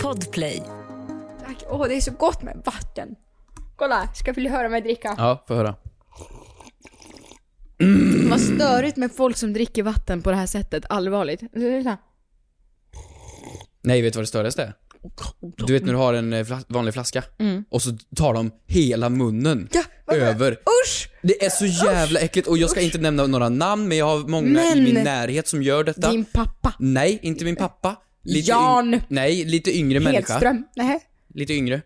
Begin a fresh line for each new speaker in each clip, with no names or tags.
Podplay.
Tack. Åh, det är så gott med vatten. Kolla, ska vill du höra mig dricka?
Ja, får höra.
Vad störigt med folk som dricker vatten på det här sättet, allvarligt.
Nej, vet du vad det störigaste är? Du vet när du har en eh, flas- vanlig flaska
Mm.
och så tar de hela munnen över.
Usch!
Det är så jävla äckligt och jag ska inte nämna några namn men jag har många i
Men-
min närhet som gör detta.
Din pappa.
Nej, inte min pappa. Lite
Jan.
yng- Nej, lite yngre människa.
Hedström. Nej.
Lite yngre.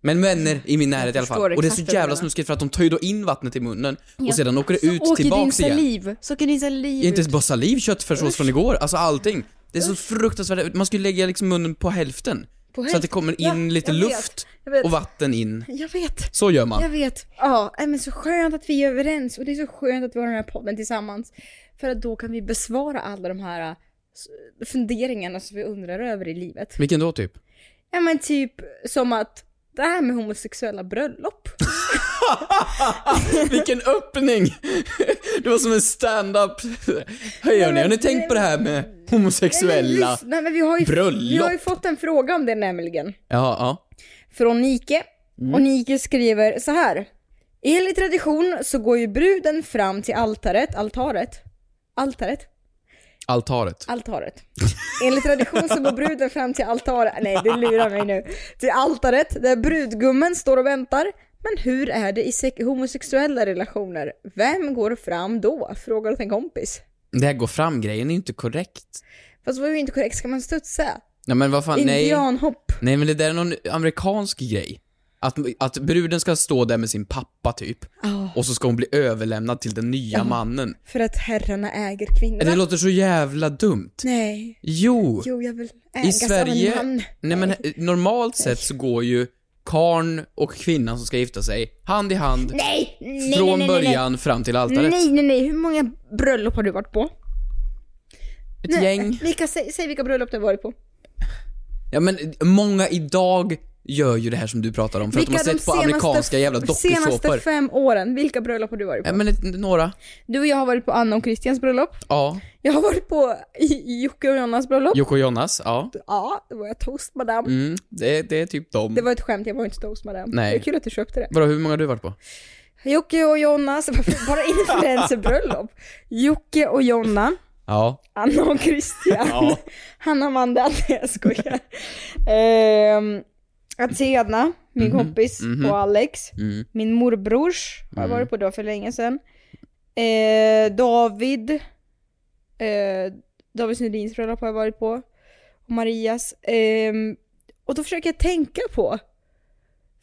Men vänner i min närhet i alla
förstår
fall. Och det är så
exakt vad du
jävla
menar.
snuskigt för att de tar ju då in vattnet i munnen och
Ja.
sedan åker det ut
Åker din
tillbaks igen.
saliv. Så åker din saliv
Inte
ut.
ens bara saliv, köttfärssås från igår, alltså allting. Det är så fruktansvärt, man skulle lägga liksom munnen på hälften. så att det kommer in
Ja,
lite
jag vet.
luft
Jag vet.
och vatten in.
Jag vet.
Så gör man.
Jag vet. Ja, nej, men så skönt att vi är överens och det är så skönt att vi har den här podden tillsammans. För att då kan vi besvara alla de här eh, s- funderingarna som vi undrar över i livet.
Vilken då typ?
Ja men typ som att det här med homosexuella bröllop.
Vilken öppning! Det var som en stand-up. Hej hörni, har ni tänkt på det här med homosexuella?
Nej, men, lys- nej, men vi har ju,
bröllop.
Vi har ju fått en fråga om det nämligen.
Ja, ja.
Från Nike.
Mm.
Och Nike skriver så här. Enligt tradition så går ju bruden fram till altaret, altaret, altaret,
Altaret.
Altaret. Enligt tradition så går bruden fram till altaret, nej du lurar mig nu. Till altaret där brudgummen står och väntar. Men hur är det i se- homosexuella relationer? Vem går fram då? Frågar åt en kompis.
Det här gå fram-grejen är ju inte korrekt.
Fast det var ju inte korrekt, ska man studsa?
Nej men vad fan, Ah, nej.
Indianhopp.
Nej men det där är någon amerikansk grej. Att, att bruden ska stå där med sin pappa typ,
Ja,
och så ska hon bli överlämnad till den nya mannen.
för att herrarna äger
Det
kvinnorna.
låter så jävla dumt.
Nej.
Jo,
Jo, jag vill
i
ägas
Sverige,
av en man.
nej men eh, normalt sett så går ju karn och kvinnan som ska gifta sig hand i hand
Nej! Nej,
från
nej, nej, nej,
början fram till
nej.
altaret.
Nej, nej, nej. Hur många bröllop har du varit på?
Ett gäng.
Vilka, säg, säg vilka bröllop du har varit på.
Ja men eh, många idag gör ju det här som du pratar om för att de har
de
sett på amerikanska jävla
senaste
dokusåpor.
fem åren, vilka bröllop har du varit på?
Ja men ett, några.
Du och jag har varit på Anna och Christians bröllop.
Ja.
Jag har varit på J- Jocke och Jonas bröllop.
Jocke och Jonas, ja.
Ja, då var jag toastmadam.
Mm, det, det är typ dem.
Det var ett skämt, jag var inte toastmadam.
Nej.
Det är kul att du köpte det.
Vadå, hur många har du varit på?
Jocke och Jonas, varför bara influencerbröllop. Jocke och Jonna,
Ja.
Anna och Christian.
Ja.
Hanna, Amanda, nej jag skojar. Ehm, Athena, min kompis,
mhm.
och Alex.
Mm.
Min morbrors har jag
Mm.
varit på då för länge sedan. Eh, David. Eh, David Sundins bröllop har jag varit på. Och Marias. Ehm, och då försöker jag tänka på.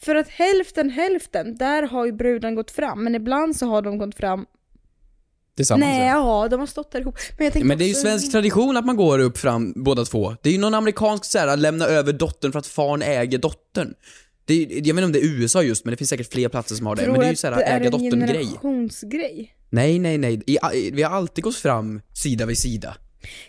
För att hälften hälften, där har ju bruden gått fram. Men ibland så har de gått fram.
Tillsammans
Nej,
ja.
ja, de har stått där ihop. Men, jag tänkte
Men det är ju
också-
svensk tradition att man går upp fram båda två. Det är ju någon amerikansk så här, lämna över dottern för att farn äger dottern. Det är, jag vet inte om det är USA just, men det finns säkert fler platser som har det.
Tror
men det är ju
att
såhär
det är
äga
en
dottern-grej.
generationsgrej.
Nej, nej, nej. I, i, vi har alltid gått fram sida vid sida.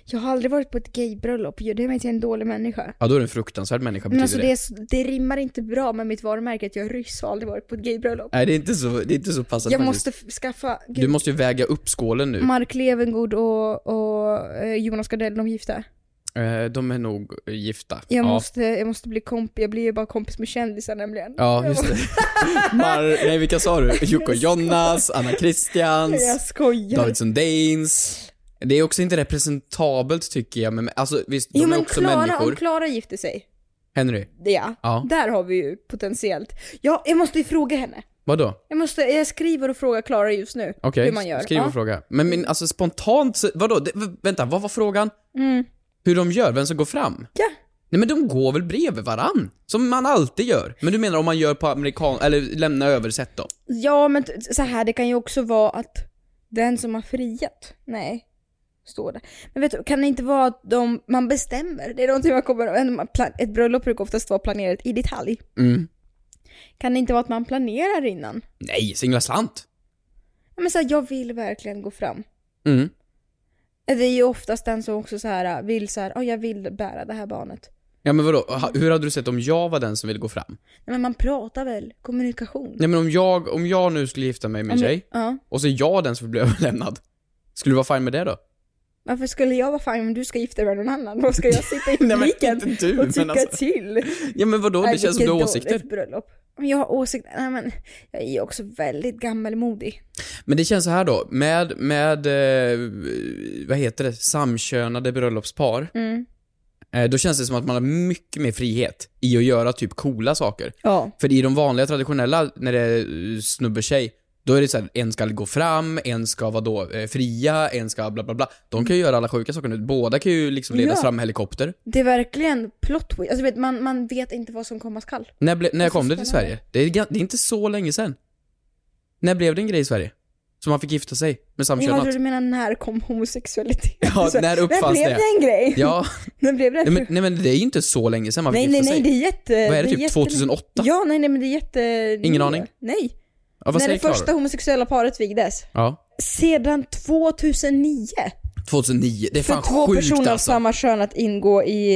Jag har aldrig varit på ett gaybröllop. Gör det mig till en dålig människa.
Ja, då är du en fruktansvärd människa,
Men
betyder
alltså
det.
det, är så- det rimmar inte bra med mitt varumärke att jag är ryss och aldrig varit på ett gaybröllop.
Nej, det är inte så, det är inte så passat
Jag
faktiskt.
måste f- skaffa,
Du
gud,
måste ju väga upp skålen nu.
Mark Levengood och, och eh, Jonas Gardell, de är gifta.
Eh, de är nog eh, gifta.
Jag,
ja.
måste, jag måste bli kompis, jag blir ju bara kompis med kändisar nämligen.
Ja, just det. Mar- nej, vilka sa du? Jocke och Jonas, Anna Christians.
Jag skojar.
David Sundins. Det är också inte representabelt tycker jag, men alltså visst, de
jo
är
men
också
Klara,
människor.
om Klara gifter sig,
Henry,
det ja.
Ja.
Där har vi ju potentiellt. Ja, jag måste ju fråga henne.
vadå?
Jag, måste, jag skriver och frågar Klara just nu
Okej,
hur man gör.
skriv och
ja.
fråga. Men min, alltså spontant, så- vadå? Det, v- vänta, vad var frågan?
Mm.
Hur de gör? Vem som går fram?
Ja.
Nej men de går väl bredvid varann? Som man alltid gör. Men du menar om man gör på amerikan... eller lämna översätt då?
Ja, men t- så här det kan ju också vara att den som har friat, nej, står det. Men vet du, kan det inte vara att de, man bestämmer? Det är någonting man kommer, en- man plan- ett bröllop brukar oftast vara planerat i detalj.
Mm.
Kan det inte vara att man planerar innan?
Nej, singla slant.
Ja, Men så här, jag vill verkligen gå fram.
Mm.
Det är ju oftast den som också så här vill så här, "Ja, jag vill bära det här barnet.
Ja men vadå, Ha- hur hade du sett om jag var den som ville gå fram?
Nej, men man pratar väl, kommunikation.
Nej men om jag, om jag nu skulle gifta mig med en
Om-
tjej,
Ja.
och så är jag den som blir överlämnad. Skulle du vara fine med det då?
Varför skulle jag vara fine om du ska gifta dig med någon annan? Då ska jag sitta i
Nej, men
publiken
inte du, men
och tycka
alltså.
till.
Ja men vadå, det
Nej,
känns som du har
vilket
åsikter.
dåligt bröllop. Men jag har åsikter. Nej men, jag är ju också väldigt gammalmodig.
Men det känns så här då, med, med eh, vad heter det, samkönade bröllopspar,
Mm.
eh, då känns det som att man har mycket mer frihet i att göra typ coola saker.
Ja.
För i de vanliga traditionella, när det är eh, snubbe tjej, då är det så här, en ska gå fram, en ska vara då eh, fria, en ska bla bla bla. De kan ju göra alla sjuka saker nu. Båda kan ju liksom ledas
Ja.
fram med helikopter.
Det är verkligen plot twist. Alltså vet, man, man vet inte vad som komma skall.
När, ble, när
Varför
kom det till
spelar
Sverige? Det är, ga- det är inte så länge sedan. När blev det en grej i Sverige? Som man fick gifta sig med
Jag
samkönat?
tror du menar när kom homosexualitet?
Ja,
Så,
när
när
uppfanns
blev
det?
det en grej?
Ja,
När blev det?
nej men, nej men det är ju inte så länge sedan man fick
nej,
gifta
nej, nej,
sig.
det är jätte...
Vad är det, typ
jätte-
2008?
Ja, nej, nej, men det är jätte...
Ingen aning.
Nej.
Ja, vad
när
säger
det
Klara?
första homosexuella paret vigdes.
Ja.
Sedan 2009!
2009, det är
för
fan
två
sjukt
personer av
alltså.
samma kön att ingå i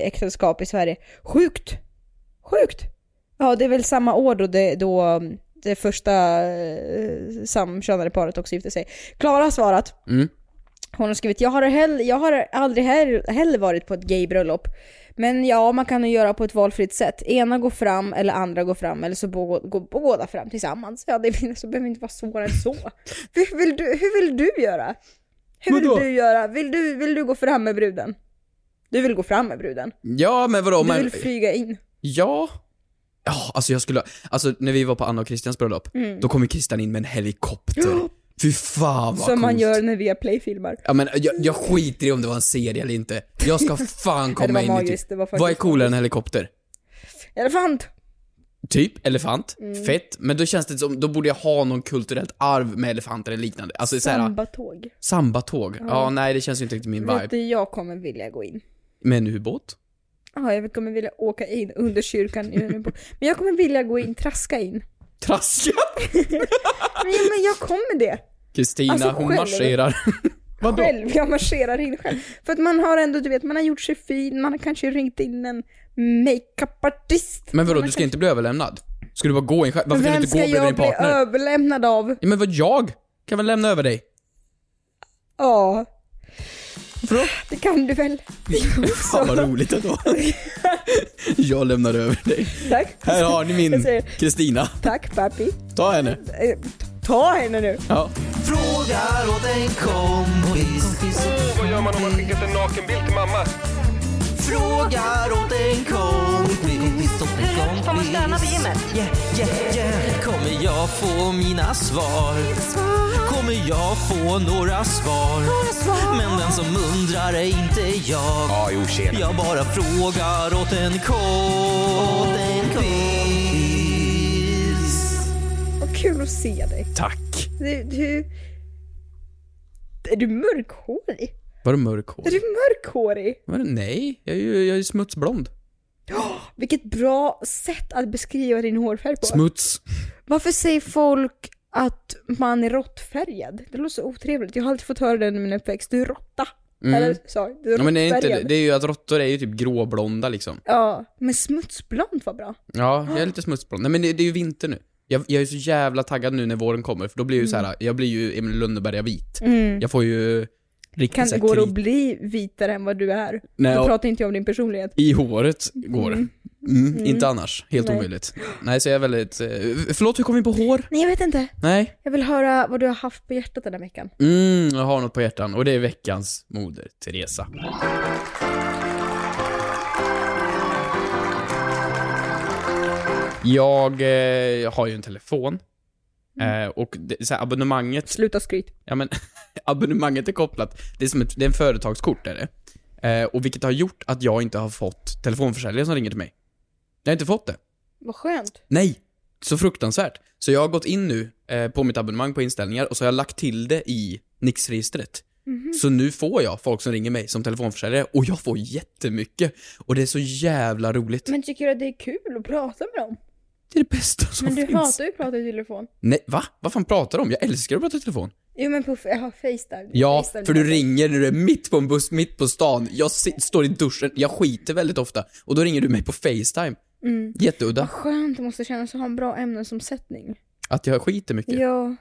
eh, äktenskap i Sverige. Sjukt! Sjukt! Ja, det är väl samma år då det, då um, det första eh, samkönade paret också gifte sig. Klara har svarat.
Mm.
Hon har skrivit, jag har, hell- jag har aldrig he- heller varit på ett gaybröllop. Men ja, man kan ju göra på ett valfritt sätt. Ena går fram eller andra går fram eller så bo- går gå- båda fram tillsammans. Ja, det är, så behöver inte vara svårare än så. Hur vill du, hur vill du göra? Hur vill
Vadå?
du göra? Vill du, vill du gå fram med bruden? Du vill gå fram med bruden.
Ja, men vadå?
Du
Men,
vill flyga in.
Ja. Ja, alltså jag skulle... Alltså när vi var på Anna och Christians bröllop,
Mm.
då kom ju Christian in med en helikopter. Fy fan vad
Som man
coolt.
gör när Viaplay filmar.
Ja, men jag, jag skiter i om det var en serie eller inte. Jag ska fan komma
var
in i
magiskt,
typ...
det var faktiskt
Vad är coolare än en helikopter?
Elefant!
Typ elefant,
Mm.
fett, men då känns det som, då borde jag ha någon kulturellt arv med elefanter eller liknande. Alltså såhär,
Sambatåg.
sambatåg. Ja, nej det känns ju inte riktigt min
Vet
vibe.
du, jag kommer vilja gå in.
Med en ubåt?
Ja, jag kommer vilja åka in under kyrkan. i Umeå. Men jag kommer vilja gå in, traska in.
Traska!
Men, ja, men jag kommer det.
Kristina,
Alltså,
hon
själv.
marscherar. Vadå?
Själv, jag marscherar in själv. För att man har ändå, du vet, man har gjort sig fin, man har kanske ringt in en makeupartist.
Men vadå,
Man
du ska inte bli överlämnad? Ska du bara gå in själv? Varför kan du
Vem ska
inte gå bredvid
jag
din
bli
partner?
överlämnad av?
Ja, men vad jag? Kan väl lämna över dig?
Ja,
För då?
det kan du väl?
Fan vad roligt ändå. jag lämnar över dig.
Tack.
Här har ni
Jag
min
säger-
Kristina.
Tack pappi.
Ta henne.
Eh, Ta henne nu.
Ja.
Frågar åt en kompis.
Åh, vad gör man om man skickat en nakenbild till mamma?
Frågar åt en kompis. Åt en kompis.
får man stöna på gymmet?
Yeah, yeah, yeah. Kommer jag få mina svar? Kommer jag få några svar? Men den som undrar är inte jag.
Ja, jo, tjena.
Jag bara frågar åt en kompis.
Vad kul att se dig.
Tack.
Du, du... Är du mörkhårig?
Var du mörk hår?
Är du mörkhårig?
Var det- Nej, jag är ju jag är ju smutsblond.
Vilket bra sätt att beskriva din hårfärg på.
Smuts.
Varför säger folk att man är råttfärgad? Det låter så otrevligt. Jag har alltid fått höra det under min uppväxt. Du är råtta. Eller sa jag? Du är
Mm. Ja, men det är inte det.
råttfärgad.
Det är ju att råttor är ju typ gråblonda liksom.
Ja, men smutsblond var bra.
Ja, jag är lite smutsblond. Nej men det, det är ju vinter nu. Jag, jag är så jävla taggad nu när våren kommer, för då blir jag ju så här, jag blir ju Emil i Lönneberga vit. Jag får ju riktigt
Mm. Kan,
så här
går det
krit-
att bli vitare än vad du är?
Nej,
Då
och-
pratar inte jag om din personlighet.
I håret går det. Mm, Inte annars. Helt
Nej.
omöjligt. Nej, så jag är väldigt... Eh, förlåt, hur kom vi in på hår?
Nej, jag vet inte.
Nej.
Jag vill höra vad du har haft på hjärtat den här veckan.
Mm, jag har något på hjärtan och det är veckans moder, Teresa. Jag eh, har ju en telefon. Eh, och det, så här, abonnemanget
Sluta skryt.
Ja men, abonnemanget är kopplat, det är som ett, det är en företagskort är det. Eh, och vilket har gjort att jag inte har fått telefonförsäljare som ringer till mig. Jag har inte fått det.
Vad skönt.
Nej! Så fruktansvärt. Så jag har gått in nu eh, på mitt abonnemang på inställningar och så har jag lagt till det i Nix-registret.
Mhm.
Så nu får jag folk som ringer mig som telefonförsäljare och jag får jättemycket. Och det är så jävla roligt.
Men tycker du att det är kul att prata med dem?
det är det bästa som
Men du
finns.
hatar ju att prata i telefon.
Nej, va? Vad fan pratar du om? Jag älskar att prata i telefon.
Jo men på ja, Facetime.
Ja,
Facetime.
för du ringer när du är mitt på en buss, mitt på stan. Jag si- står i duschen, jag skiter väldigt ofta.
Mm.
Och då ringer du mig på Facetime. Jätteudda.
Skönt det måste kännas att ha en bra ämnesomsättning.
Att jag skiter mycket?
Ja.
Hur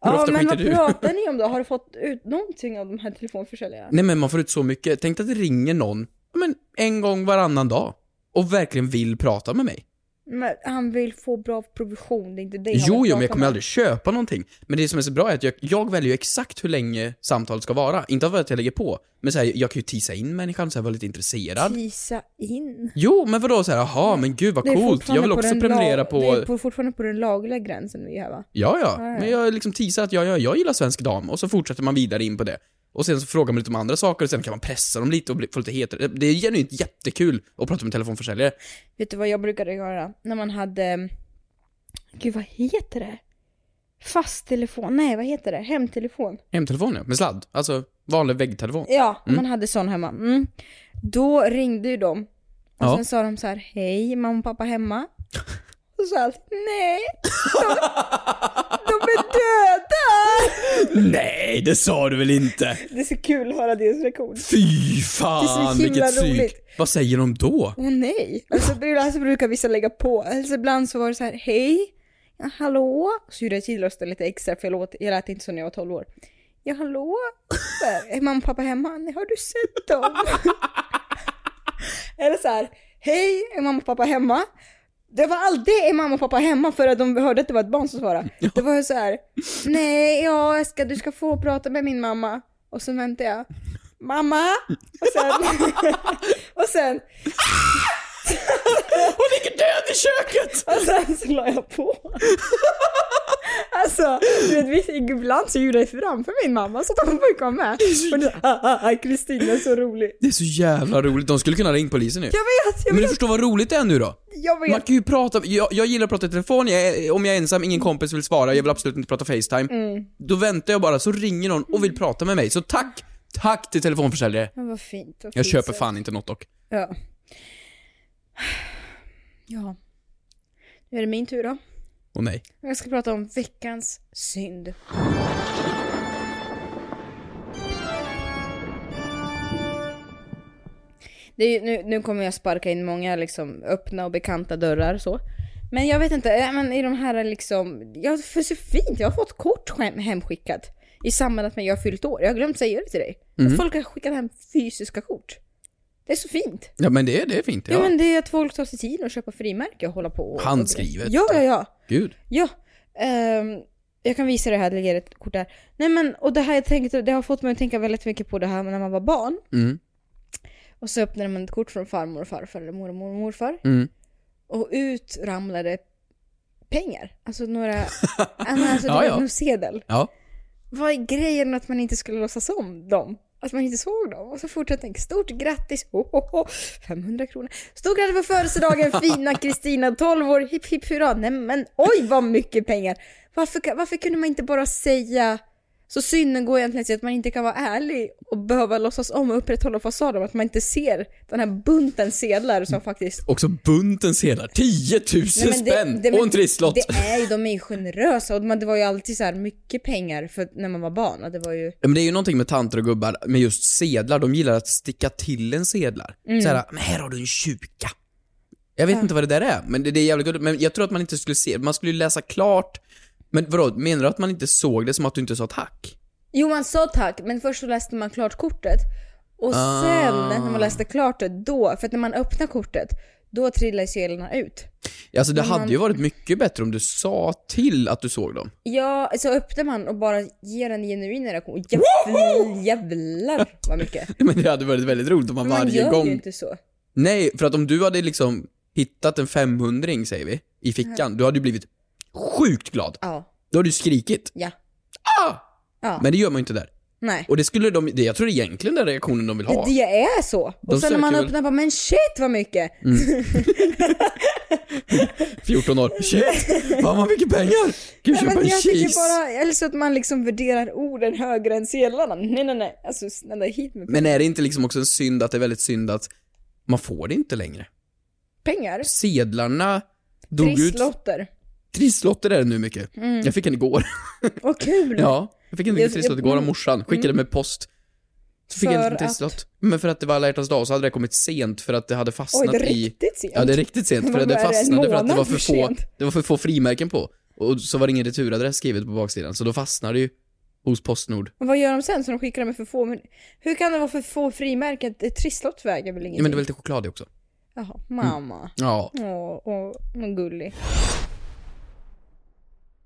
ja,
ofta
men
skiter
vad
du?
pratar ni om då? Har du fått ut någonting av de här telefonförsäljarna?
Nej men man får ut så mycket. Tänk dig att det ringer någon, ja, men en gång varannan dag. Och verkligen vill prata med mig.
Men han vill få bra provision, det är inte dig han
Jo,
vill
jo, men jag
prata
kommer
med.
aldrig köpa någonting. Men det som är så bra är att jag, jag väljer ju exakt hur länge samtalet ska vara. Inte av att jag lägger på, men så här, jag kan ju tisa in människan så här, vara lite intresserad.
Tisa in.
Jo, men vadå så här, jaha, men gud vad
Det är
coolt, jag
fortfarande
vill
på
också
den
prenumerera
lag- Det
på...
är på- fortfarande på den lagliga gränsen vi är här va?
Ja, ja,
Ja, ja.
men jag liksom teasar att jag, jag, jag gillar svensk dam och så fortsätter man vidare in på det. Och sen så frågar man lite om andra saker och sen kan man pressa dem lite och bli, få lite hetare. Det är genuint jättekul att prata med telefonförsäljare.
Vet du vad jag brukade göra? När man hade... mm, Gud, vad heter det? Fast telefon? Nej, vad heter det? Hemtelefon?
Hemtelefon ja, med sladd. Alltså vanlig väggtelefon.
Ja, om
Mm.
man hade sån hemma. Mm. Då ringde ju de. Och
Ja.
sen sa de så här, hej, mamma och pappa hemma? Och så allt, nej, de, de är döda!
Nej, det sa du väl inte?
Det är så kul att höra deras reaktion.
Fy
Det är
fan,
så himla
vilket psyk.
roligt.
Vad säger de då?
Åh nej! Alltså ibland så brukar vissa lägga på, alltså ibland så var det så här, hej, ja, hallå? Så gjorde jag kilrösten lite extra för jag lät, jag lät inte så när jag var 12 år. Ja hallå? Så här, Är mamma och pappa hemma? Nej, har du sett dem? Eller så här, hej, är mamma och pappa hemma? Det var aldrig är mamma och pappa hemma för att de hörde att det var ett barn som svarade. Det var ju så här, nej, ja Eska du ska få prata med min mamma. Och så väntar jag, mamma! Och sen, och sen
Hon ligger död i köket!
Och sen så la jag på. alltså, du vet, visst, ibland så gjorde jag framför min mamma så att hon fick vara med. Och nu, ah, ah, ah, Kristina är så rolig.
Det är så jävla roligt. De skulle kunna ringa polisen nu.
Jag vet, jag
Men du
vet,
förstår vad roligt det är nu då?
jag
Man
vet.
kan ju prata, jag, jag gillar att prata i telefon, jag, är- om jag är ensam, ingen kompis vill svara, jag vill absolut inte prata Facetime.
Mm.
Då väntar jag bara, så ringer någon och vill prata med mig. Så tack, tack till telefonförsäljare.
Men vad fint. Vad
Jag
fint
köper
så.
fan inte något dock.
Ja. ja. Nu är det min tur då.
Åh nej.
Jag ska prata om veckans synd. Det är, ju- nu, nu kommer jag sparka in många liksom, öppna och bekanta dörrar så. Men jag vet inte, eh, men i de här liksom, jag, för så fint, jag har fått kort hem, hemskickat i samband med att jag har fyllt år. Jag har glömt säga det till dig. Att folk har skickat hem fysiska kort. Det är så fint.
Ja men det, är- det är fint.
Ja.
Ja.
men det är att folk tar sig tid och köpa frimärke och hålla på och,
Handskrivet.
Och ja, ja, ja.
Gud.
Ja, ehm, jag kan visa det här, lägga ett kort där. Nej men, och det här jag tänkte, det har fått mig att tänka väldigt mycket på det här när man var barn.
Mm,
Och så öppnade man ett kort från farmor och farfar, eller mormor och morfar.
mm.
Och ut ramlade pengar. Alltså några, ja, men alltså
Ja,
det
ja.
var någon sedel.
Ja.
Vad är grejen att man inte skulle låtsas om dem? Att man inte såg dem? Och så fortsätter stort grattis, ho, ho, ho, 500 kronor. Stort grattis på födelsedagen fina Kristina, 12 år, hipp hipp hurra. Nej men oj vad mycket pengar. Varför, kan- varför kunde man inte bara säga så synden går egentligen till att man inte kan vara ärlig och behöva låtsas om och upprätthålla fasaden att man inte ser den här bunten sedlar som faktiskt...
Också bunten sedlar, 10 000
Nej, men det-
spänn!
det- men
och en trisslott!
Det är ju, de är ju generösa och man- det var ju alltid så här mycket pengar för när man var barn. och Det var ju...
Ja, Men det är ju någonting med tanter och gubbar, med just sedlar, de gillar att sticka till en sedlar.
Mm.
Såhär, men här har du en tjuka. Jag vet inte vad det där är, men det, det är jävligt gulligt. Men jag tror att man inte skulle se, man skulle ju läsa klart. Men vadå, menar du att man inte såg det som att du inte sa tack?
Jo man sa tack, men först så läste man klart kortet. Och
Ah.
sen när man läste klart det, då, för att när man öppnar kortet, då trillar sedlarna ut.
Alltså det
Men
hade
man-
ju varit mycket bättre om du sa till att du såg dem.
Ja, så öppnar man och bara ger en genuin reaktion. Jävlar, jävlar vad mycket.
Men det hade varit väldigt roligt om man
Men man
varje
gör
gång...
ju inte så.
Nej, för att om du hade liksom hittat en 500 säger vi, i fickan, du hade ju blivit sjukt glad.
Ja,
Då hade du skrikit.
ja,
Ah!
ja.
Men det gör man ju inte där.
Nej.
Och det skulle de, det, jag tror det är egentligen den reaktionen de vill ha.
Det är så.
De
och sen när man
söker väl-
öppnar bara men shit vad mycket.
14 år. Shit! Fan vad mycket pengar! Gud,
Nej,
köpa
men
en
jag tycker
cheese.
bara, eller så att man liksom värderar orden högre än sedlarna. Nej nej nej, alltså snälla hit med
Men är det inte liksom också en synd att det är väldigt synd att man får det inte längre?
pengar.
Sedlarna dog ut.
Trisslotter.
Trisslotter är det nu mycket.
Mm.
Jag fick en igår.
Vad kul!
ja, jag fick en
Jag-
trisslott igår av morsan. Skickade med post. Så fick jag en
Mm. För
trisslott. Men för att det var alla hjärtans dag så hade det kommit sent för att det hade
Oj,
fastnat
det är
i...
riktigt sent.
Ja, det är riktigt sent för
Vad
det
är det, en
fastnade för att det
månad
var för
för
få,
sent?
det var för få frimärken på. Och så var det ingen returadress skrivet på baksidan, så då fastnar det ju hos Postnord.
Och vad gör de sen så de skickar med för få? Men hur kan det vara för få frimärken? Ett Trisslott väger väl ingenting?
Ja, men det typ- var lite choklad i också.
Jaha,
Mm.
mamma.
Ja.
Åh, åh, vad gullig.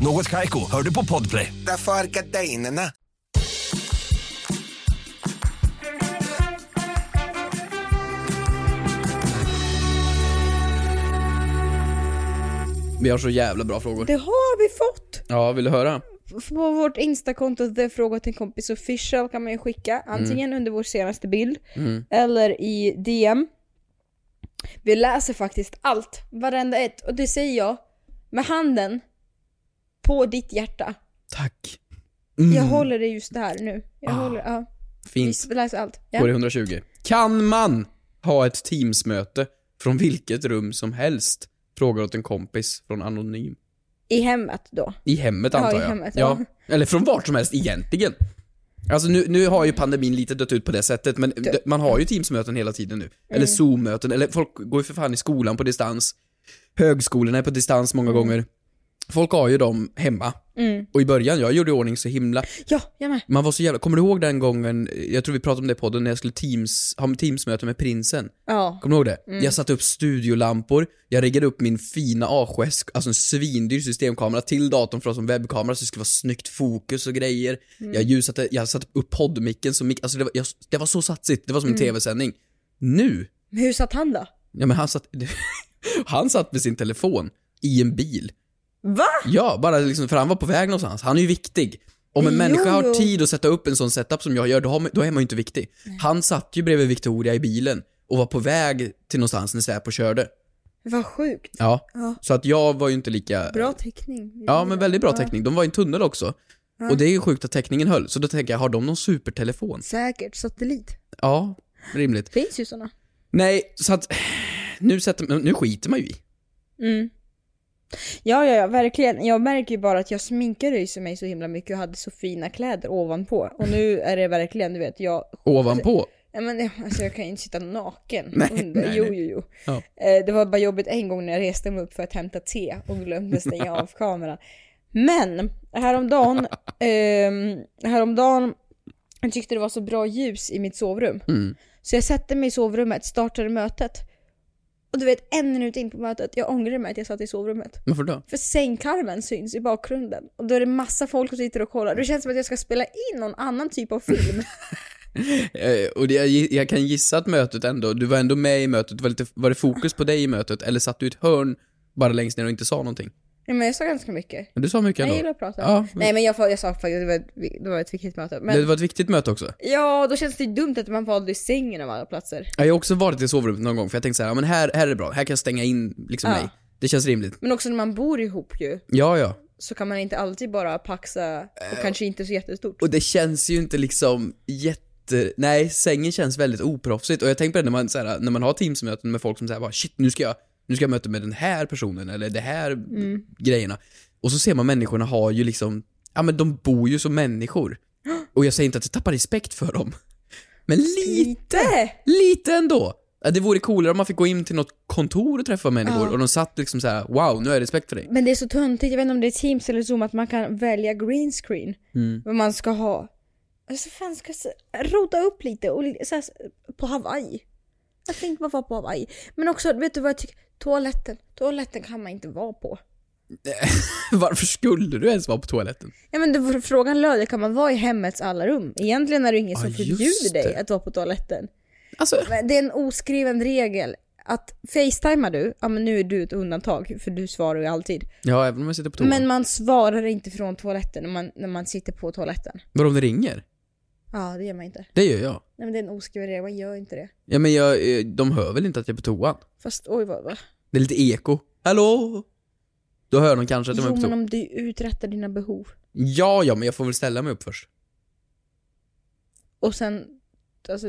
Något Kaiko, hör du på Podplay.
Därför är gardinerna.
Vi har så jävla bra frågor.
Det har vi fått!
Ja, vill du höra?
På vårt instakonto The Fråga till en kompis official kan man ju skicka
Mm.
antingen under vår senaste bild eller i DM. Vi läser faktiskt allt, varenda ett. Och det säger jag med handen på ditt hjärta.
Tack.
Jag håller det just där nu. Jag håller, ja.
Mm. Ah, Fint.
Vi läser allt. Ja.
Går i 120. Kan man ha ett Teamsmöte från vilket rum som helst? Frågar åt en kompis från Anonym.
I hemmet då.
I hemmet
Ja,
antar
i
jag.
hemmet,
ja. Eller från vart som helst egentligen. Alltså nu, nu har ju pandemin lite dött ut på det sättet, men d- man har ju Teamsmöten hela tiden nu. Eller
Mm.
Zoom-möten, eller folk går ju för fan i skolan på distans. Högskolorna är på distans många
Mm.
gånger. Folk har ju dem hemma. Och i början, jag gjorde i ordning så himla...
Ja, jag med.
Man var så jävla... Kommer du ihåg den gången, jag tror vi pratade om det i podden, när jag skulle teams, ha Teamsmöte med prinsen?
Ja.
Kommer du ihåg det? Jag satte upp studiolampor, jag riggade upp min fina A7S, alltså en svindyr systemkamera till datorn för att som webbkamera så det skulle vara snyggt fokus och grejer. Jag ljussatte, jag satte upp poddmicken så mick, alltså det var, jag, det var så satsigt, det var som en tv-sändning. Nu,
Men hur satt han då?
ja men han satt, han satt med sin telefon i en bil.
Va?
Ja, bara liksom, för han var på väg någonstans. Han är ju viktig. Om en människa har
jo.
tid att sätta upp en sån setup som jag gör, då, har, man- då är man ju inte viktig. Han satt ju bredvid Victoria i bilen och var på väg till någonstans när Säpo körde.
Vad sjukt.
Ja.
Ja.
Så att jag var ju inte lika...
Bra teckning.
Ja, men väldigt bra täckning. De var i en tunnel också. Och det är ju sjukt att täckningen höll, så då tänker jag, har de någon supertelefon?
Säkert satellit.
Ja, rimligt.
Finns ju såna.
Nej, så att... Nu, sätter, nu skiter man ju i.
Mm. Ja, ja, ja, verkligen. Jag märker ju bara att jag sminkade ju mig så himla mycket och hade så fina kläder ovanpå. Och nu är det verkligen, du vet, jag...
Ovanpå.
Nej, men, jag- alltså, jag kan ju inte sitta naken
Nej,
under.
nej,
jo, jo,
nej.
jo.
Ja.
Eh, det var bara jobbigt en gång när jag reste mig upp för att hämta te och glömde stänga av kameran. Men häromdagen, ehm, häromdagen jag tyckte det var så bra ljus i mitt sovrum.
Mm.
Så jag satte mig i sovrummet, startade mötet. Och du vet, en minut in på mötet, jag ångrade mig att jag satt i sovrummet.
Varför då?
För sängkarmen syns i bakgrunden. Och då är det massa folk som sitter och kollar. Det känns som att jag ska spela in någon annan typ av film.
Eh, och det, jag, gi- jag kan gissa att mötet ändå, du var ändå med i mötet, var, lite, var det fokus på dig i mötet, eller satt du i ett hörn bara längst ner och inte sa någonting?
Nej, men jag sa ganska mycket.
Men du sa mycket
Jag
ändå.
gillar att prata.
Ja,
Nej men jag, får- jag sa faktiskt att det var ett, det var ett viktigt möte. Men
Det var ett viktigt möte också.
ja, då känns det ju dumt att man valde i sängen av alla platser.
Ja, Jag har också varit i sovrummet någon gång, för jag tänkte så här, ja, men här, här är det bra, här kan jag stänga in liksom
Ja.
mig. Det känns rimligt.
Men också när man bor ihop ju,
Ja, ja.
så kan man inte alltid bara paxa, och kanske inte så jättestort.
Och det känns ju inte liksom jätte... Nej, sängen känns väldigt oproffsigt. Och jag tänker på det när man, så här, när man har teamsmöten med folk som säger bara shit, nu ska jag, nu ska jag möta med den här personen eller det här
Mm.
grejerna. Och så ser man människorna har ju liksom, ja men de bor ju som människor. Och jag säger inte att jag tappar respekt för dem. Men lite,
Lite!
lite ändå. Ja, Det vore coolare om man fick gå in till något kontor och träffa människor och de satt liksom så här: wow, nu har jag respekt för dig.
Men det är så töntigt, jag vet inte om det är Teams eller Zoom, att man kan välja green screen. Vad man ska ha. Alltså fan ska jag se- rota upp lite och li- så här, på Hawaii. Jag tänkte man var på Hawaii. Men också, vet du vad jag tycker? Toaletten. Toaletten kan man inte vara på.
Varför skulle du ens vara på toaletten?
Ja men det var, frågan löd, kan man vara i hemmets alla rum? Egentligen är det ju ingen som
Ja, just
förbjuder dig
det.
att vara på toaletten.
Alltså,
Men det är en oskriven regel. Att facetimar du, ja men nu är du ett undantag för du svarar ju alltid.
ja även om jag sitter på toaletten.
Men man svarar inte från toaletten när man, när man sitter på toaletten.
Vadå om det ringer?
Ja det gör man inte.
Det gör jag.
Nej men det är en oskriven regel, man gör inte det.
Ja men jag, eh, de hör väl inte att jag är på toan?
Fast oj vad, vad.
Det är lite eko. Hallå? Då hör de kanske att de är
Jo
upptog.
men om du uträttar dina behov.
Ja, ja, men jag får väl ställa mig upp först.
Och sen, alltså,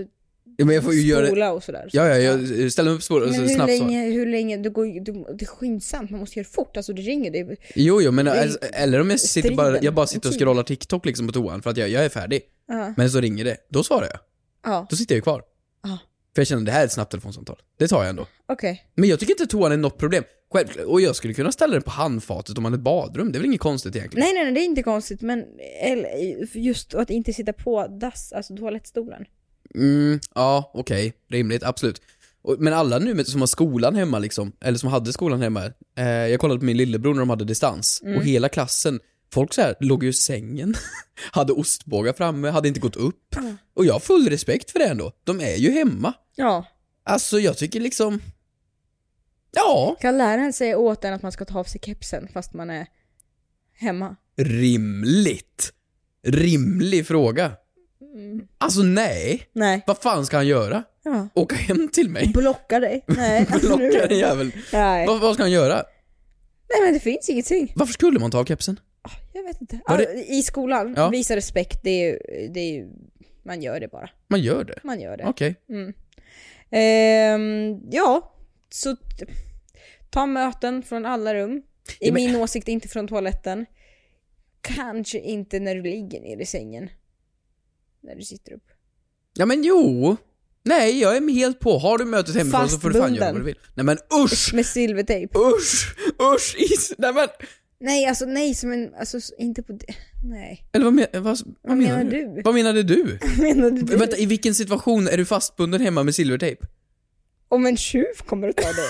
Ja, men jag får ju göra det.
spola och sådär.
Ja, ja, jag ställer mig upp spår,
Men
så
hur
snabbt så.
länge, hur länge, du går, ju- du, det är skyndsamt, man måste göra det fort, alltså det ringer, det är
Jo, jo, men
Det är
alltså, eller om jag sitter bara,
striden
jag bara sitter och
om tid.
scrollar TikTok liksom på toan för att jag, jag är färdig.
Ja.
Men så ringer det, då svarar jag.
Ja,
Då sitter jag ju kvar.
Ja.
För jag känner, det här är ett snabbt telefonsamtal. Det tar jag ändå.
okej.
Men jag tycker inte toan är något problem. Självklart. Och jag skulle kunna ställa den på handfatet om man är i badrum. Det är väl inget konstigt egentligen?
Nej nej nej, det är inte konstigt men eller, just att inte sitta på dass, alltså toalettstolen.
Mm, ja, okej. Rimligt, absolut. Och, men alla nu med, som har skolan hemma liksom, eller som hade skolan hemma. Eh, jag kollade på min lillebror när de hade distans. Och hela klassen, folk så här låg ju i sängen, hade ostbågar framme, hade inte gått upp. Och jag har full respekt för det ändå. De är ju hemma.
Ja.
Alltså jag tycker liksom... Ja,
Kan läraren säga åt en att man ska ta av sig kepsen fast man är hemma?
rimligt. Rimlig fråga. Alltså nej.
Nej.
Vad fan ska han göra?
Ja.
Åka hem till mig?
Blocka dig? Nej. alltså, nu-
Blocka den jäveln.
Nej.
Vad, vad ska han göra?
nej men det finns ingenting.
Varför skulle man ta av kepsen?
Jag vet inte.
Var det-
Ja, I skolan,
Ja.
visa respekt, det är, ju, det är ju, man gör det bara.
Man gör det.
Man gör det.
Okej.
Ehm, ja, så t- ta möten från alla rum. I
Ja, men-
min åsikt inte från toaletten. Kanske inte när du ligger ner i sängen. När du sitter upp.
Ja men jo. Nej, jag är helt på. Har du mötet hemifrån så får du fan
Fastbunden.
göra vad du vill. Nej men usch!
Med silvertejp.
Usch! Usch! Is. Nej men!
Nej, alltså nej, som en, alltså s- inte på det. Nej.
Eller vad, men, vad, vad,
Vad
menar,
menar
du?
du?
Vad menade du?
Menar du
Vänta,
det?
i vilken situation är du fastbunden hemma med silvertejp?
Om en tjuv kommer att ta dig?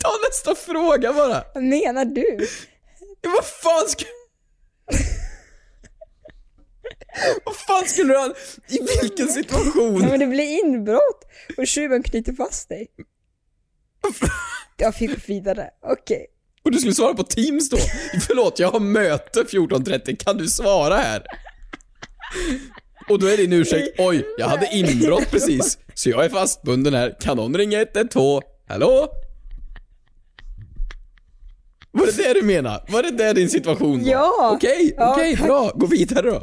Ta nästa fråga bara!
Vad menar du?
Ja, Vad fan ska... Vad fan skulle du ha... I vilken situation?
Ja, men det blir inbrott och tjuven knyter fast dig. Jag fick vidare. Okej.
Och du skulle svara på Teams då? Förlåt, jag har möte 14.30, kan du svara här? Och då är din ursäkt, oj, jag hade inbrott precis, så jag är fastbunden här, kan någon ringa 112? Hallå? Var det det du menar? Var det där din situation var?
Ja.
Okej,
Ja,
okej,
tack.
bra. Gå vidare då.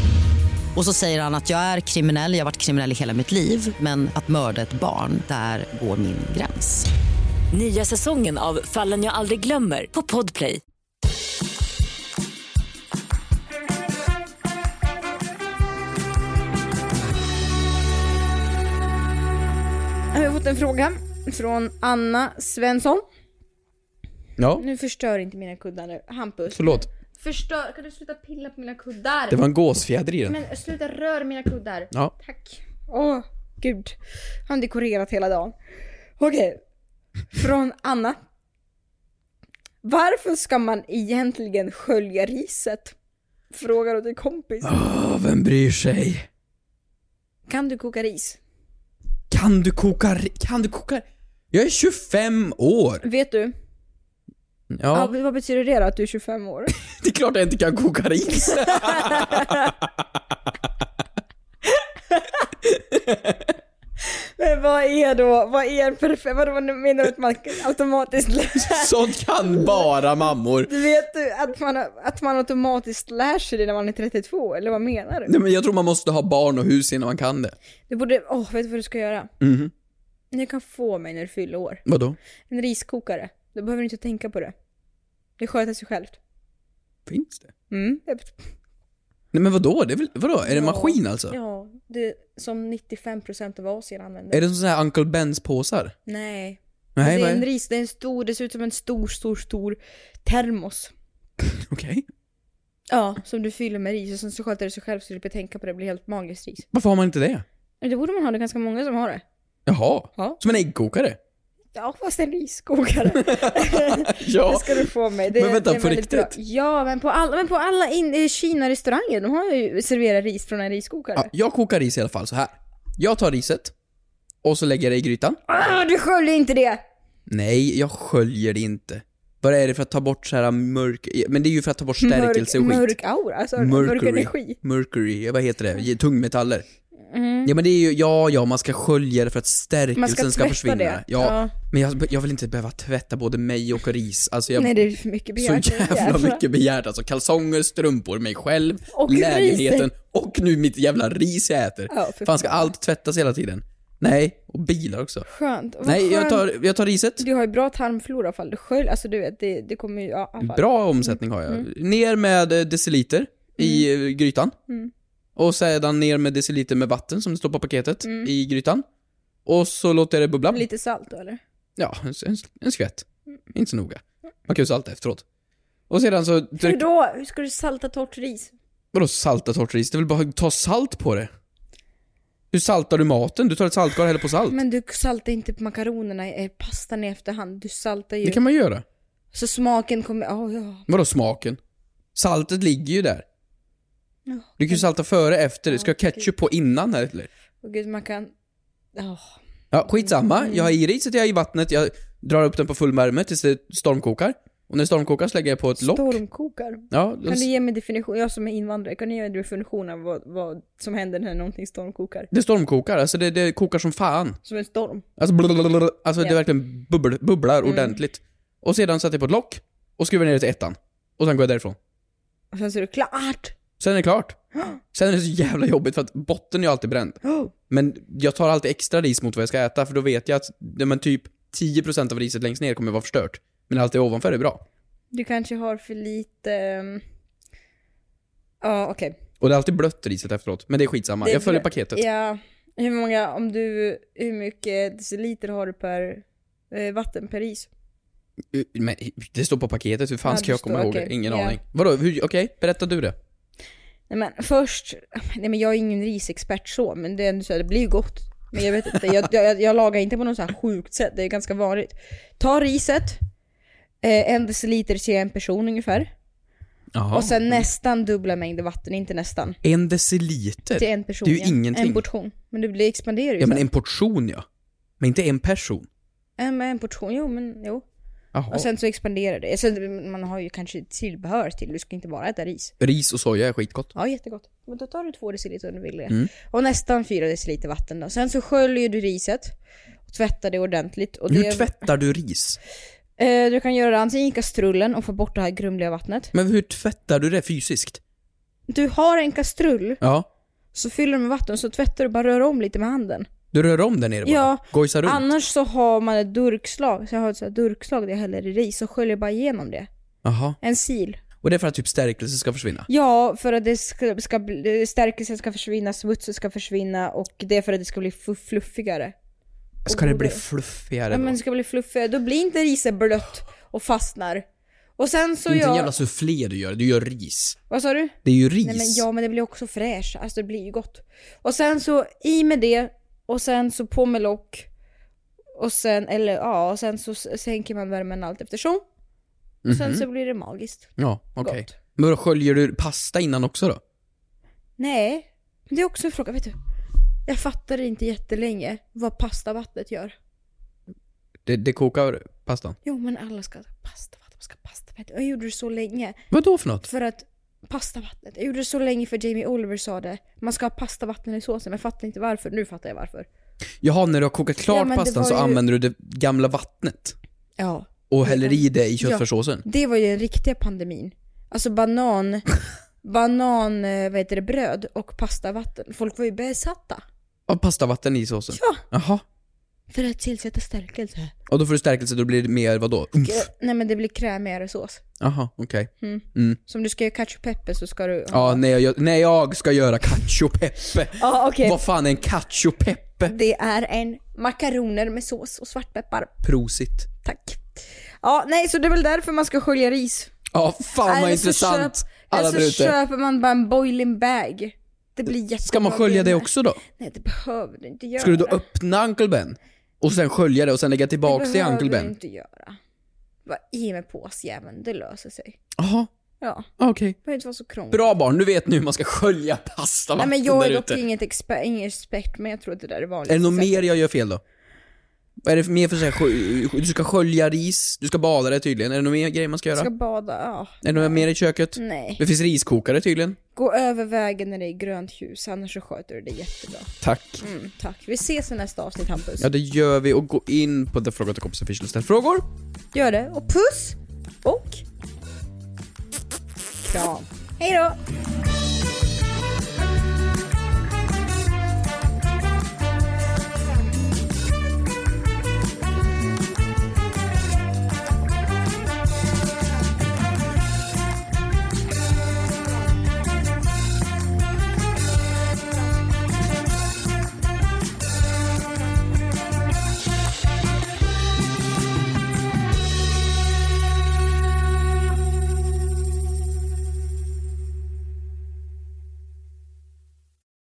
Och så säger han att jag är kriminell, jag har varit kriminell i hela mitt liv men att mörda ett barn, där går min gräns.
Nya säsongen av Fallen jag aldrig glömmer på Podplay.
Jag har fått en fråga från Anna Svensson.
Ja,
Nu förstör inte mina kuddar nu. Hampus.
förlåt.
Förstör, kan du sluta pilla på mina kuddar?
Det var en gåsfjäder i den.
Men sluta röra mina kuddar.
Ja.
Tack. Åh, gud. Han har dekorerat hela dagen. Okej. Från Anna. Varför ska man egentligen skölja riset? Frågar åt en kompis.
Åh, vem bryr sig?
Kan du koka ris?
Kan du koka ri- Kan du koka ri- Jag är 25 år!
Vet du? Ja.
Ja,
vad betyder det då att du är 25 år?
det är klart jag inte kan koka ris.
Men vad är då, vad är en perfekt, vadå menar du att man automatiskt lär
Sånt kan bara mammor.
Du vet du att man, att man automatiskt lär sig det när man är 32, eller vad menar du?
Nej, men jag tror man måste ha barn och hus innan man kan det.
Du borde, åh vet du vad du ska göra?
Mhm.
Du kan få mig när du fyller år.
Vadå?
En riskokare. Då behöver du inte tänka på det. Det sköter sig självt.
Finns det?
Mm.
Nej men vadå? Det är väl, vadå? Är det en
Ja.
maskin alltså?
Ja, det är som 95% av Asien använder.
Är det sån här Uncle Bens påsar?
Nej. Alltså,
Nej,
det
vad
är
är
en
det?
ris, det är en stor, det ser ut som en stor, stor, stor termos.
Okej.
Ja, som du fyller med ris och sen så sköter det sig själv så du slipper tänka på det, det blir helt magiskt ris.
Varför har man inte det?
Men Det borde man ha, det är ganska många som har det.
Jaha.
Ja.
Som en äggkokare?
Ja, fast en risskogare.
Ja.
Det ska du få mig. Det,
Men vänta,
det är
på
väldigt bra.
riktigt?
Ja, men på alla, men på alla in, eh, Kina-restauranger, de har ju serverat ris från en risskokare.
Ja, jag kokar ris i alla fall så här. Jag tar riset och så lägger jag det i grytan.
Ah, du sköljer inte det!
Nej, jag sköljer det inte. Vad är det för att ta bort så här mörk... Men det är ju för att ta bort stärkelse och skit.
Mörk aura, alltså mörk energi.
Mercury, vad heter det? Tungmetaller.
Mm.
Ja men det är ju, ja ja man ska skölja det för att stärkelsen
Man
ska,
ska
ska
tvätta
försvinna.
det.
Ja.
Ja.
Men jag, jag vill inte behöva tvätta både mig och ris. Alltså jag,
Nej, det är för mycket begärt.
så jävla
Jävlar.
mycket begärt. Alltså kalsonger, strumpor, mig själv,
Och
lägenheten
riset.
och nu mitt jävla ris jag äter.
Ja, för
fan ska allt tvättas hela tiden? Nej, och bilar också.
Skönt. Vad
Nej, jag
skönt.
tar, jag tar riset.
Du har ju bra tarmflora fall du sköljer, alltså du vet, det, det kommer ju, ja, i alla fall.
Bra omsättning har jag. Ner med eh, deciliter i eh, grytan.
Mm.
Och sedan ner med deciliter med vatten som det står på paketet
Mm.
i grytan. Och så låter jag det bubbla.
Lite Mm. salt då eller?
Ja, en, en, en skvätt. Inte så noga. Man kan ju salta efteråt. Och sedan så...
Hur
Dryck,
då? Hur ska du salta torrt ris?
vadå salta torrt ris? Det är väl bara att ta salt på det? Hur saltar du maten? Du tar ett saltkar och häller på salt.
Men du saltar inte makaronerna, eh, pastan i efterhand. Du saltar ju.
Det kan man göra.
Så smaken kommer, ja, ja.
Vadå smaken? Saltet ligger ju där.
Ja.
Du kan ju salta före, efter. Ska jag ketchup på innan här eller?
Åh gud, man kan, ja.
Ja, skitsamma.
Mm.
Jag har i riset, jag har i vattnet, jag drar upp den på full värme tills det stormkokar. Och när det stormkokar så lägger jag på ett lock.
Stormkokar.
Ja,
Kan du
det,
ge mig definition, jag som är invandrare, kan du ge mig definition av vad, vad som händer när någonting stormkokar?
det stormkokar, alltså det, det kokar som fan.
Som en storm.
Alltså, blablabla, alltså det
Ja.
verkligen bubbl, bubblar
Mm.
ordentligt. Och sedan sätter jag på ett lock och skruvar ner det till ettan. Och sen går jag därifrån.
Och sen så är det klart!
Sen är det klart. Sen är det så jävla jobbigt för att botten är ju alltid bränd.
Oh.
Men jag tar alltid extra ris mot vad jag ska äta för då vet jag att ja, men typ 10% av riset längst ner kommer vara förstört. Men allt det ovanför är bra.
Du kanske har för lite... ehm, Ja, okej.
Och det är alltid blött riset efteråt. Men det är skitsamma.
Det är
jag följer
för-
paketet.
Ja. Hur många, om du, hur mycket deciliter har du per eh, vatten per is?
Uh, Men det står på paketet, hur fan
Ja,
ska
det
jag komma
står-
ihåg det?
okej.
Ingen
Ja.
aning. Vadå, hur- okej, berätta du det.
Nej men först, nej men jag är ingen risexpert så, men det, är ändå så här, det blir ju gott. Men jag vet inte, jag, jag, jag lagar inte på något så här sjukt sätt, det är ganska vanligt. Ta riset, eh, en deciliter till en person ungefär. och
Mm.
sen nästan dubbla mängder vatten, inte nästan.
En deciliter?
Till en person
Eh, Det är ju
ja.
ingenting.
En portion. Men det blir expanderar ju
ja, men
sen.
en portion ja. Men inte en person.
Ja, men en portion, jo men jo.
Jaha.
Och sen så expanderar det. Sen, man har ju kanske tillbehör till, du ska inte bara äta ris.
Ris och soja är skitgott.
Ja, jättegott. Men då tar du två deciliter om du vill det.
Mm.
Och nästan fyra deciliter vatten då. Sen så sköljer du riset. Och tvättar det ordentligt. Och
Hur
det,
tvättar du ris?
Eh, du kan göra det antingen i kastrullen och få bort det här grumliga vattnet.
Men hur tvättar du det fysiskt?
Du har en kastrull,
Ja.
så fyller du med vatten, så tvättar du bara rör om lite med handen.
Du rör om där nere bara?
Ja,
Gojsar runt?
Annars så har man ett durkslag, så jag har ett så här durkslag där jag häller i ris och sköljer bara igenom det.
Jaha.
En sil.
Och det är för att typ stärkelsen ska försvinna?
Ja, för att det ska, ska bli- stärkelsen ska försvinna, smutsen ska försvinna och det är för att det ska bli fu- fluffigare.
Ska det bli
godare.
fluffigare
Ja,
då?
men det ska bli fluffigare, då blir inte riset blött och fastnar. Och sen
Det
så
är inte en
jag...
jävla soufflé du gör, du gör ris.
Vad sa du?
Det är ju ris.
Nej men ja men det blir också fräscht, alltså det blir ju gott. Och sen så i med det och sen så på med lock. Och sen, eller ja, och sen så s- sänker man värmen allt eftersom. Och sen
Mhm.
så blir det magiskt.
Ja, okej.
Gott.
Men då sköljer du pasta innan också då?
Nej, men det är också en fråga, vet du? Jag fattade inte jättelänge vad pastavattnet gör.
Det, det kokar pastan?
Jo men alla ska ha pastavatten, man ska ha pastavatten. Jag gjorde det så länge.
Vad då för något?
För att pastavattnet, jag gjorde det så länge för Jamie Oliver sa det. Man ska ha pastavatten i såsen, men jag fattar inte varför. Nu fattar jag varför.
Jaha, när du har kokat
Ja,
klart
men det
pastan
var
så
ju-
använder du det gamla vattnet
Ja.
och häller i det i
Ja.
köttfärssåsen?
Det var ju den riktiga pandemin. Alltså banan, banan, eh, vad heter det, bröd och pastavatten. Folk var ju besatta.
Av pastavatten i såsen?
Ja.
Jaha.
För att tillsätta stärkelse.
Och då får du stärkelse, då blir det mer vadå? Umf.
Eh, Nej men det blir krämigare sås.
Jaha, okej.
Mm.
Mm.
Så om du ska göra cacio pepe så ska du...
Ja, när jag, när jag ska göra cacio pepe.
Ja, okej.
Vad fan är en cacio pepe?
Det är en makaroner med sås och svartpeppar.
Prosit.
Tack. Ja, nej så det är väl därför man ska skölja ris.
Ja, fan vad
Eller så
intressant.
köp-
alla
Eller så
där ute.
Alltså, köper man bara en boiling bag. Det blir jättebra.
Ska man skölja det
med.
också då?
Nej det behöver du inte göra.
Ska du då öppna Uncle Ben? Och sen skölja det och sen lägga tillbaks till
behöver du
Uncle Ben.
inte göra. Bara i med påsjäveln, det löser sig.
Jaha,
Ja.
okej.
Behöver inte vara så krångligt.
Bra barn, nu vet ni hur man ska skölja
Nej
pastavatten
men jag är typ-
där
dock
ute.
inget expert, ingen expert, men jag tror att det där är vanligt.
Är det något mer jag gör fel då? Vad är det för- mer för så här, skö- du ska skölja ris, du ska bada det tydligen. Är det något mer grejer man ska göra?
Ska bada, ja.
Är det något mer i köket?
Nej.
Det finns riskokare tydligen.
Gå över vägen när det är grönt ljus, annars så sköter du det jättebra.
Tack.
Mm, tack. Vi ses i nästa avsnitt Hampus.
Ja, det gör vi. Och gå in på The Fråga till kompisar official och ställ frågor.
Gör det. Och puss! Och... Kram. Hej då!